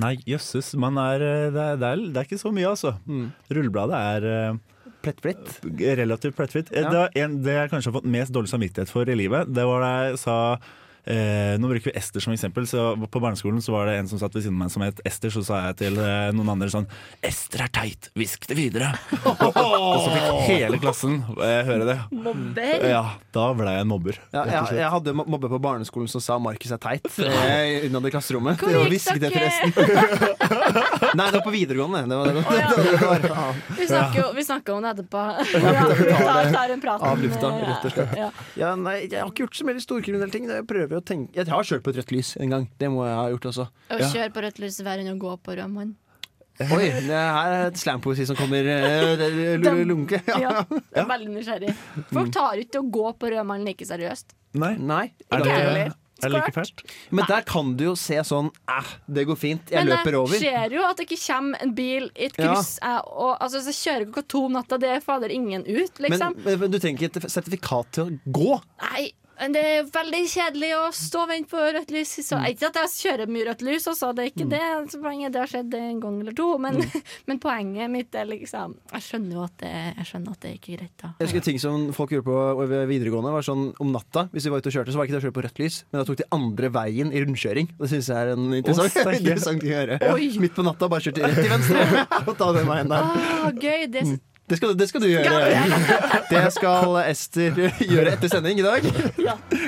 Speaker 3: Nei, jøsses. Man er eh, det er, det, er, det er ikke så mye, altså.
Speaker 5: Mm.
Speaker 3: Rullebladet er eh, Relativt plettfritt. Eh,
Speaker 5: Ja.
Speaker 3: Det, var en, det jeg kanskje har fått mest dårlig samvittighet for i livet, det var da jeg sa eh, Nå bruker vi Ester som eksempel. Så på barneskolen så var det en som satt ved siden av meg som het Ester. Så sa jeg til eh, noen andre sånn Ester er teit, hvisk det videre. Og så fikk hele klassen eh, høre det.
Speaker 6: Mobber.
Speaker 3: Ja, da ble jeg en mobber.
Speaker 5: Ja,
Speaker 3: rett og
Speaker 5: jeg,
Speaker 3: slett.
Speaker 5: jeg hadde mo- mobbe på barneskolen som sa Markus er teit. eh, Innad i klasserommet.
Speaker 6: Hvor
Speaker 5: Det var
Speaker 6: gikk
Speaker 5: hvisket jeg
Speaker 6: dere?
Speaker 5: forresten. Nei, det var på videregående. Det var det. Det var- det var-
Speaker 6: Vi snakker, jo, vi snakker om det etterpå.
Speaker 5: Ja, vi tar det
Speaker 6: tar en prat
Speaker 5: Av lufta, rett og slett.
Speaker 6: Ja.
Speaker 5: Ja, nei, jeg har ikke gjort så mye storkriminelle ting. Jeg prøver å tenke Jeg har kjørt på et rødt lys en gang. Det må jeg ha gjort også.
Speaker 6: Å
Speaker 5: Ja.
Speaker 6: kjøre på rødt lys er verre enn å gå på rød mann.
Speaker 5: Oi, det her er et slampoesi som kommer eh, l- l- lunke.
Speaker 6: Ja, jeg er veldig nysgjerrig. Folk tar ikke å gå på rød mann like seriøst.
Speaker 3: Nei.
Speaker 6: Er det- heller.
Speaker 5: er det like fælt? Men der kan du jo se sånn Æh, det går fint. Jeg
Speaker 6: Men
Speaker 5: løper over.
Speaker 6: det skjer jo at det ikke kommer en bil i et
Speaker 5: Ja.
Speaker 6: kryss. eh, Og, altså, så kjører klokka to om natta, det er fader ingen ut, liksom.
Speaker 5: Men, men, men du trenger ikke et sertifikat til å gå.
Speaker 6: Nei, men det er veldig kjedelig å stå og vente på rødt lys. Så, Ikke at jeg kjører mye rødt lys, også, det er ikke det som er poenget. Det har skjedd en gang eller to. Men, men poenget mitt er liksom Jeg skjønner jo at det, jeg skjønner at det er ikke greit, da.
Speaker 5: Jeg husker ting som folk gjorde på eh, ved videregående var sånn om natta. Hvis vi var ute og kjørte, så var det ikke det å kjøre på rødt lys, men da tok de andre veien i rundkjøring. Det syns jeg er en interessant,
Speaker 3: sterke.
Speaker 5: interessant ting å gjøre.
Speaker 3: Oi.
Speaker 5: Midt på natta bare kjørte rett til venstre og ta den veien der.
Speaker 6: Å, gøy! Det er
Speaker 5: Det skal, det skal du gjøre. Det skal Ester gjøre etter sending i dag.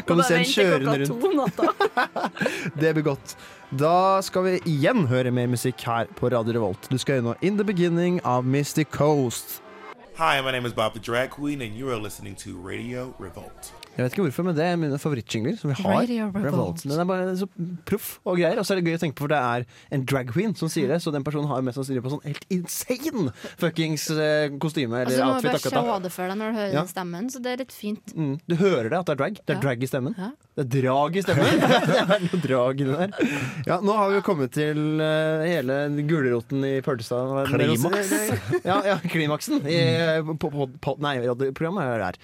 Speaker 5: Kan du se en kjørende rundt? Det blir godt. Da skal vi igjen høre mer musikk her på Radio Revolt. Du skal høre nå In the Beginning av Mystic Coast.
Speaker 11: Hi, my name is Bob the Drag Queen, and you are listening to Radio Revolt.
Speaker 5: Jeg vet ikke hvorfor, men det er mine favorittjingler som vi har.
Speaker 11: Radio Revolt.
Speaker 5: Den er bare så proff og greier. Og så er det gøy å tenke på, for det er en drag queen som sier det, så den personen har mest sannsynlig på sånn helt insane fuckings eh, kostyme
Speaker 6: Og
Speaker 5: eller
Speaker 11: Altså,
Speaker 6: så må du
Speaker 5: outfit
Speaker 6: bare se
Speaker 5: akkurat da.
Speaker 6: det for deg når du hører
Speaker 5: Ja.
Speaker 6: den stemmen, så det er litt fint.
Speaker 5: Mm. Du hører det, at det er drag. Det er drag i stemmen. Det er drag i stemmen. det er noe drag i det der. Ja, nå har vi jo kommet til eh, hele gulroten i pølsa. Hva er det dere
Speaker 3: Klimaks.
Speaker 5: sier? Ja, ja, klimaksen i eh, på, på, på, Nei, radioprogrammet er det her.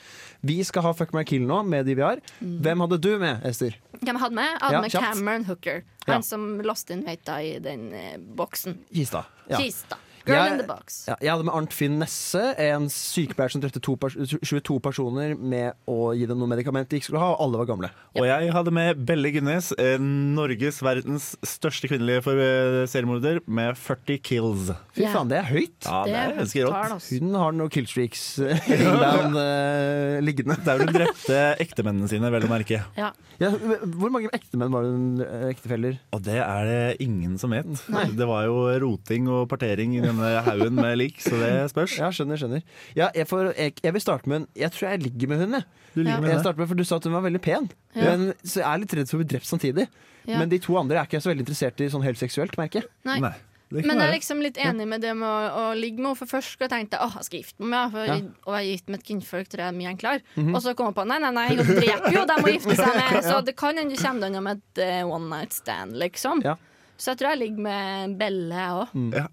Speaker 5: Vi skal ha Fuck my kill nå, med de vi har. Hvem hadde du med, Ester?
Speaker 6: Hvem hadde med? Jeg Hadde
Speaker 5: Ja,
Speaker 6: med
Speaker 5: kjapt.
Speaker 6: Cameron Hooker.
Speaker 5: Ja.
Speaker 6: Han som lost in veita i den eh, boksen.
Speaker 5: Kista. Ja.
Speaker 6: Kista. Girl
Speaker 5: Jeg-
Speaker 6: in the box.
Speaker 5: Ja, jeg hadde med Arnt Finn Nesse, en sykepleier som drepte to pers 22 personer med å gi dem noe medikament de ikke skulle ha, og alle var gamle.
Speaker 3: Og jeg hadde med Belle Gunnes, eh, Norges verdens største kvinnelige for eh, seriemorder, med 40 kills.
Speaker 5: Fy faen, det er høyt!
Speaker 3: Ja, det er ganske rått.
Speaker 5: Hun har noen killstreaks eh, down, eh, liggende.
Speaker 3: Der hun drepte ektemennene sine, vel å merke.
Speaker 6: Ja.
Speaker 5: Ja, hvor mange ektemenn var det? hun- eh, Ektefeller?
Speaker 3: Og det er det ingen som vet.
Speaker 5: Nei.
Speaker 3: Det var jo roting og partering i denne haugen med lik, så det spørs.
Speaker 5: Ja, skjønner, skjønner. Ja, jeg, får, jeg, jeg vil starte med en Jeg tror jeg ligger med hun, jeg.
Speaker 3: Du ligger Ja. med
Speaker 5: jeg
Speaker 3: henne.
Speaker 5: starter med, for du sa at hun var veldig pen,
Speaker 6: Ja.
Speaker 5: men, så jeg er litt redd for å bli drept samtidig.
Speaker 6: Ja.
Speaker 5: Men de to andre er ikke jeg så veldig interessert i sånn helt seksuelt, merker jeg.
Speaker 6: Nei. Nei, Men jeg er liksom litt enig med det med å, å ligge med henne. For først skulle jeg tenke åh, jeg skal gifte meg med henne, for
Speaker 5: Ja.
Speaker 6: i- å være gift med et kvinnfolk tror jeg er mye enklere.
Speaker 5: Mhm.
Speaker 6: Og så kom jeg på nei, nei, nei, hun dreper jo dem hun gifter seg med,
Speaker 5: Ja.
Speaker 6: så det kan hende du kommer deg unna med et eh, one night stand, liksom.
Speaker 5: Ja.
Speaker 6: Så jeg tror jeg ligger med Belle, jeg òg.
Speaker 5: Mm.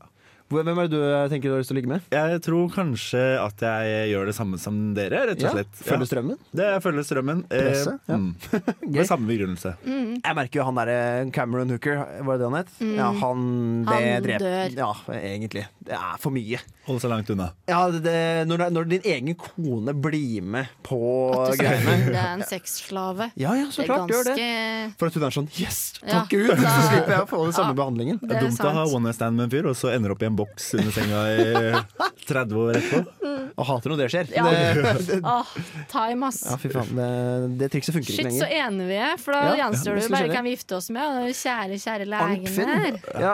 Speaker 5: Hvor- Hvem er det du eh, tenker du har lyst til å ligge med?
Speaker 3: Jeg tror kanskje at jeg gjør det samme som dere, rett
Speaker 5: Ja,
Speaker 3: og slett.
Speaker 5: følger strømmen?
Speaker 3: Det er følger strømmen.
Speaker 5: Presse, ja.
Speaker 3: mm. Med samme begrunnelse.
Speaker 5: Jeg merker jo han derre Cameron Hooker, var det det han het?
Speaker 3: Mm.
Speaker 5: Ja, han det
Speaker 3: Han
Speaker 5: drep-
Speaker 3: dør.
Speaker 5: Ja, egentlig. Det er for mye.
Speaker 3: Hold seg langt unna.
Speaker 5: Ja, det, det, når, det- når din egen kone blir med på
Speaker 6: At du skal finne
Speaker 5: greiene.
Speaker 6: en sexslave.
Speaker 5: Ja, ja, så
Speaker 6: Det er
Speaker 5: klart, gjør det.
Speaker 6: ganske-
Speaker 5: For at hun er sånn Yes!
Speaker 6: Ja,
Speaker 5: Takk Gud! Så
Speaker 6: da-
Speaker 5: slipper jeg å få den samme behandlingen.
Speaker 3: Det er dumt å ha one night stand med en fyr, og så ender opp i en boks under senga i 30 år etterpå.
Speaker 5: Og hater når det skjer.
Speaker 6: Ja.
Speaker 5: Det, det,
Speaker 6: Åh, time, ass.
Speaker 5: ja, fy faen. Det, det trikset funker
Speaker 6: Shit,
Speaker 5: ikke
Speaker 6: så
Speaker 5: lenger.
Speaker 6: enige vi er, for da
Speaker 5: Ja,
Speaker 6: gjenstår det
Speaker 5: plutselig
Speaker 6: jo bare
Speaker 5: skjer det.
Speaker 6: hvem vi gifter oss med. Og det er jo kjære, kjære
Speaker 5: Arnt
Speaker 6: legen
Speaker 5: Finn.
Speaker 6: her.
Speaker 5: Ja,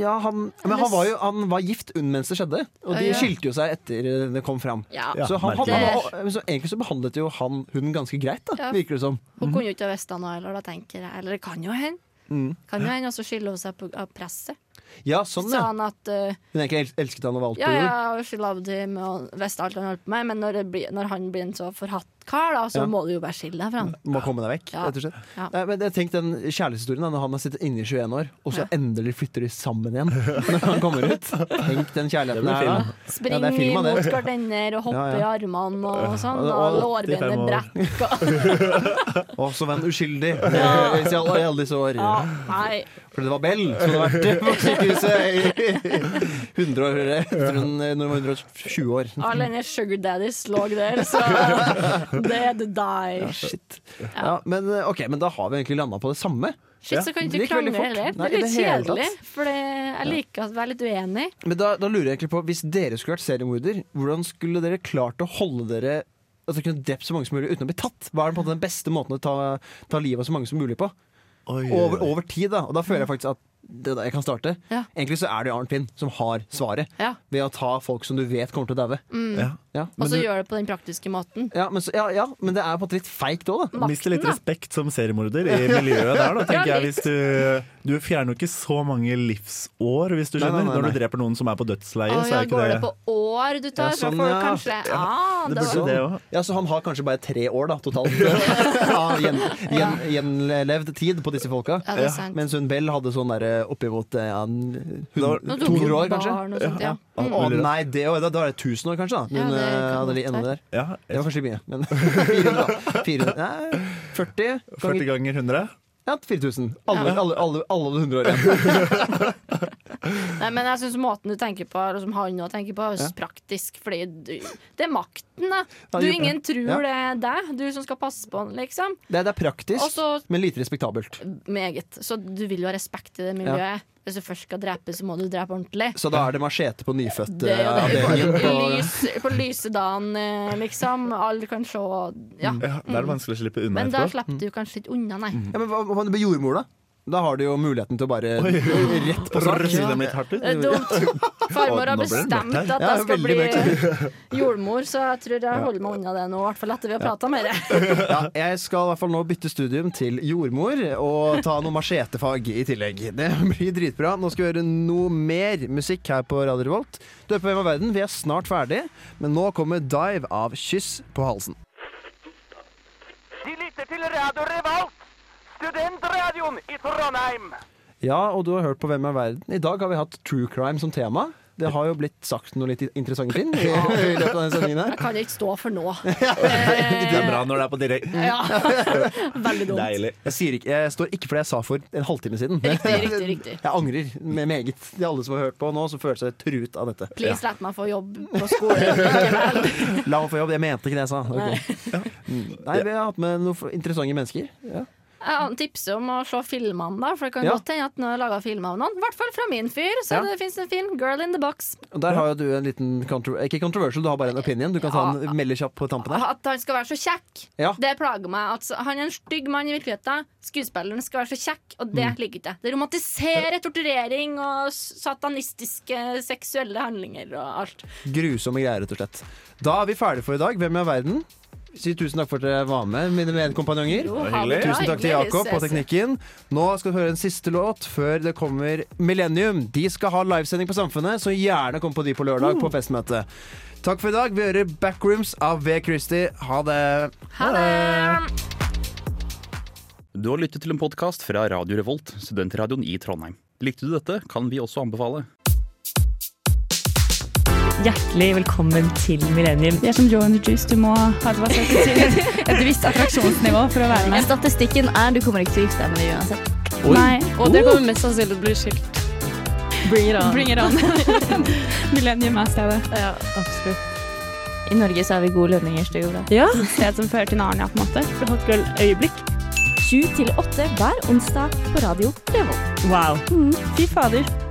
Speaker 5: ja, han, men han var jo han var gift un- mens det skjedde, og de
Speaker 6: Ja.
Speaker 5: skilte jo seg etter det kom fram.
Speaker 6: Ja.
Speaker 5: Så, han, han,
Speaker 6: Merkelig.
Speaker 5: han, men så egentlig så behandlet jo han hun ganske greit, da,
Speaker 6: Ja.
Speaker 5: virker det som.
Speaker 6: Hun kunne jo ikke ha visst det nå heller, da tenker jeg. Eller det kan jo hende.
Speaker 5: Mhm. Mm.
Speaker 6: Kan jo hende, og så skylder hun seg på, av presset.
Speaker 5: Ja, sånn,
Speaker 6: Sa
Speaker 5: ja.
Speaker 6: han at eh,
Speaker 5: Hun egentlig el- elsket han og valgte
Speaker 6: ja,
Speaker 5: på
Speaker 6: ja,
Speaker 5: jord.
Speaker 6: she loved him, og visste alt han holdt på med, men når, det blir, når han blir en så forhatt kar, da, så
Speaker 5: Ja.
Speaker 6: må du jo bare skille deg fra han.
Speaker 5: Må komme deg vekk,
Speaker 6: Ja.
Speaker 5: rett og slett.
Speaker 6: Ja.
Speaker 5: Nei, men jeg tenkte den kjærlighetshistorien da, når han har sittet inne i 21 år, og så
Speaker 6: Ja.
Speaker 5: endelig flytter de sammen igjen når han kommer ut. Tenk den kjærligheten her, da.
Speaker 6: Spring
Speaker 5: det er film av det.
Speaker 6: mot gardiner og hoppe
Speaker 5: Ja, ja.
Speaker 6: i armene og sånn,
Speaker 5: Ja,
Speaker 6: og
Speaker 5: det var
Speaker 6: lårbenet
Speaker 5: 85 år.
Speaker 6: brekk.
Speaker 5: Å, som en uskyldig
Speaker 6: Ja.
Speaker 5: i alle- i alle disse år.
Speaker 6: Ja, nei.
Speaker 5: For det var Bell som hadde vært sykehuset i 100 år, eller 100, når de var 120 år.
Speaker 6: All denne sugar daddies lå der, så dead die.
Speaker 5: Shit. Ja, men, eh, ok, men da har vi egentlig landa på det samme.
Speaker 6: Shit, så kan
Speaker 5: Ja.
Speaker 6: du ikke
Speaker 5: Det gikk veldig
Speaker 6: krangle
Speaker 5: fort.
Speaker 6: heller. Det
Speaker 5: Nei,
Speaker 6: er
Speaker 5: i
Speaker 6: litt
Speaker 5: hele tatt.
Speaker 6: kjedelig, for det, jeg liker å være litt uenig.
Speaker 5: Men da, da lurer jeg egentlig på, hvis dere skulle vært seriemorder, hvordan skulle dere klart å holde dere At dere kunne drept så mange som mulig uten å bli tatt? Hva er på en måte den beste måten å ta, ta livet av så mange som mulig på? over, over tid, da. Og da føler jeg faktisk at det er da jeg kan starte.
Speaker 6: Ja.
Speaker 5: Egentlig så er det jo Arnt Pinn som har svaret.
Speaker 6: Ja.
Speaker 5: Ved å ta folk som du vet kommer til å daue.
Speaker 6: Mm.
Speaker 5: Ja. Ja,
Speaker 6: Og
Speaker 5: men
Speaker 6: så
Speaker 5: du-
Speaker 6: gjør det på den praktiske måten.
Speaker 5: ja, men så- ja, ja, men det er på en måte litt feigt òg, da.
Speaker 6: Makten, Mister litt da.
Speaker 3: respekt som seriemorder i miljøet der, da, tenker
Speaker 6: Ja,
Speaker 3: jeg. Hvis du, du fjerner jo ikke så mange livsår, hvis du
Speaker 5: Nei,
Speaker 3: skjønner.
Speaker 5: nei, nei,
Speaker 3: Når
Speaker 5: nei.
Speaker 3: du dreper noen som er på dødsleiet,
Speaker 6: Å
Speaker 3: så
Speaker 6: ja,
Speaker 3: er ikke
Speaker 6: går det
Speaker 3: det
Speaker 6: på år du tar
Speaker 3: Ja, sånn,
Speaker 6: fra folk,
Speaker 3: ja.
Speaker 6: kanskje? Ja,
Speaker 5: det
Speaker 6: det
Speaker 5: burde
Speaker 6: var...
Speaker 5: det også. Ja, Så han har kanskje bare tre år da, totalt av gjen, gjen, gjenlevd tid på disse folka.
Speaker 6: Ja, det er sant.
Speaker 5: Mens hun Bell hadde sånn derre oppimot eh, ja, en hund-
Speaker 6: Nå tok
Speaker 5: 200 år,
Speaker 6: hun
Speaker 5: kanskje.
Speaker 6: barn og sånt, ja. Mm.
Speaker 5: Å nei, det, å, da, da er det 1000 år, kanskje. da
Speaker 6: Ja,
Speaker 5: Men,
Speaker 6: det
Speaker 5: eh,
Speaker 6: kan
Speaker 5: hadde
Speaker 6: godt
Speaker 5: ligget enda
Speaker 6: være.
Speaker 5: der. Det var kanskje mye, men 400, da. 400, nei, 40,
Speaker 3: 40 ganger 100?
Speaker 5: Ja, 4000. Alle,
Speaker 3: Ja.
Speaker 5: alle, alle, alle hadde 100 år igjen.
Speaker 6: Nei, men jeg syns måten du tenker på, eller som han òg tenker på, er
Speaker 5: Ja.
Speaker 6: så praktisk. Fordi du, det er makten, da.
Speaker 5: Ja,
Speaker 6: Du,
Speaker 5: jo,
Speaker 6: ingen
Speaker 5: ja.
Speaker 6: tror det er deg, du som skal passe på han, liksom.
Speaker 5: Det, det er praktisk,
Speaker 6: Også-
Speaker 5: men lite respektabelt.
Speaker 6: Meget. Så du vil jo ha respekt i det miljøet. Hvis du først skal drepe, så må du drepe ordentlig.
Speaker 5: Så da er det machete på nyfødt.
Speaker 6: Det er jo det.
Speaker 5: eh, avdelingen på-
Speaker 6: Lys, på lyse dagen, eh, liksom. Alle kan se. Ja.
Speaker 5: Mm.
Speaker 3: Ja, Da er det vanskelig å slippe unna
Speaker 6: Men der
Speaker 3: etterpå.
Speaker 6: slipper du kanskje ikke unna, nei.
Speaker 5: Ja, men hva hva om du blir jordmor, da? Da har du jo muligheten til å bare
Speaker 3: Oi.
Speaker 5: rett på sak.
Speaker 3: Rulle dem litt hardt ut.
Speaker 6: Det er dumt. Farmor
Speaker 5: Å, nå
Speaker 6: har
Speaker 5: ble det mørkt
Speaker 6: bestemt
Speaker 5: her.
Speaker 6: at
Speaker 5: Ja,
Speaker 6: jeg skal
Speaker 5: veldig
Speaker 6: bli jordmor, så jeg tror jeg holder meg unna det nå. I hvert fall etter vi har prata med deg.
Speaker 5: Ja, jeg skal i hvert fall nå bytte studium til jordmor og ta noe machetefag i tillegg. Det blir dritbra. Nå skal vi høre noe mer musikk her på Radio Revolt. Du er på Hvem er verden? Vi er snart ferdig, men nå kommer Dive av Kyss på halsen.
Speaker 15: De lytter til Radio Revolt, studentradioen i Trondheim.
Speaker 5: Ja, og du har hørt på Hvem er verden? I dag har vi hatt true crime som tema. Det har jo blitt sagt noe litt interessante ting i, i løpet av denne sendingen her.
Speaker 6: Jeg kan ikke stå for nå.
Speaker 3: Det er bra når det er på direkten.
Speaker 6: Ja. Veldig dumt.
Speaker 3: Deilig.
Speaker 5: Jeg, sier ikke, jeg står ikke for det jeg sa for en halvtime siden.
Speaker 6: Riktig, riktig, riktig.
Speaker 5: Jeg angrer med meget. De alle som har hørt på nå, som føler seg truet av dette.
Speaker 6: Please, la meg få jobb på skolen.
Speaker 5: La meg få jobb. Jeg mente ikke det jeg sa. Det
Speaker 6: Nei.
Speaker 5: kom. Mm. Nei, vi har hatt med noen for- interessante mennesker. Ja.
Speaker 6: Jeg tipser om å se filmene, da, for det kan
Speaker 5: Ja.
Speaker 6: godt hende at noen har laga filmer av noen. I hvert fall fra min fyr,
Speaker 5: Ja.
Speaker 6: så det fins en film, 'Girl in the Box'.
Speaker 5: Og der har jo du en liten kontro- Ikke controversial, du har bare en opinion. Du kan
Speaker 6: Ah.
Speaker 5: ta en melde kjapp på tampen her.
Speaker 6: At han skal være så kjekk,
Speaker 5: Ja.
Speaker 6: det plager meg. At han er en stygg mann i virkeligheten. Skuespilleren skal være så kjekk, og det
Speaker 5: Mm.
Speaker 6: liker ikke jeg. Det romantiserer torturering og satanistiske seksuelle handlinger og alt.
Speaker 5: Grusomme greier, rett og slett. Da er vi ferdige for i dag. Hvem er verden? Si tusen takk for at dere var med, mine medkompanjonger.
Speaker 6: Jo, ha det bra.
Speaker 5: Tusen takk til
Speaker 6: Hyggelig.
Speaker 5: Jakob og
Speaker 6: Ses.
Speaker 5: teknikken. Nå skal vi høre en siste låt før det kommer Millennium. De skal ha livesending på Samfunnet, så gjerne kom på de på lørdag
Speaker 6: Uh.
Speaker 5: på festmøte. Takk for i dag. Vi hører Backrooms av V. Christie. Ha det.
Speaker 6: Ha det!
Speaker 16: Du har lyttet til en podkast fra Radio Revolt, studentradioen i Trondheim. Likte du dette, kan vi også anbefale.
Speaker 17: Hjertelig velkommen til Millennium. Det er som Joe and the Juice, du må ha et, visst attraksjonsnivå for å være med. Statistikken er du kommer ikke til å gifte deg med det uansett.
Speaker 18: Oi.
Speaker 17: Nei.
Speaker 18: Og dere kommer mest sannsynlig til å bli skilt.
Speaker 17: Bring it on.
Speaker 18: Bring it on. Millennium er stedet.
Speaker 17: Ja, absolutt. I Norge så har vi gode lønninger, så det går bra.
Speaker 18: Ja.
Speaker 17: Et Sted som fører til Narnia, på en måte. Hotgirl øyeblikk. Sju til åtte hver onsdag på Radio Revolt. Wow. Fy fader.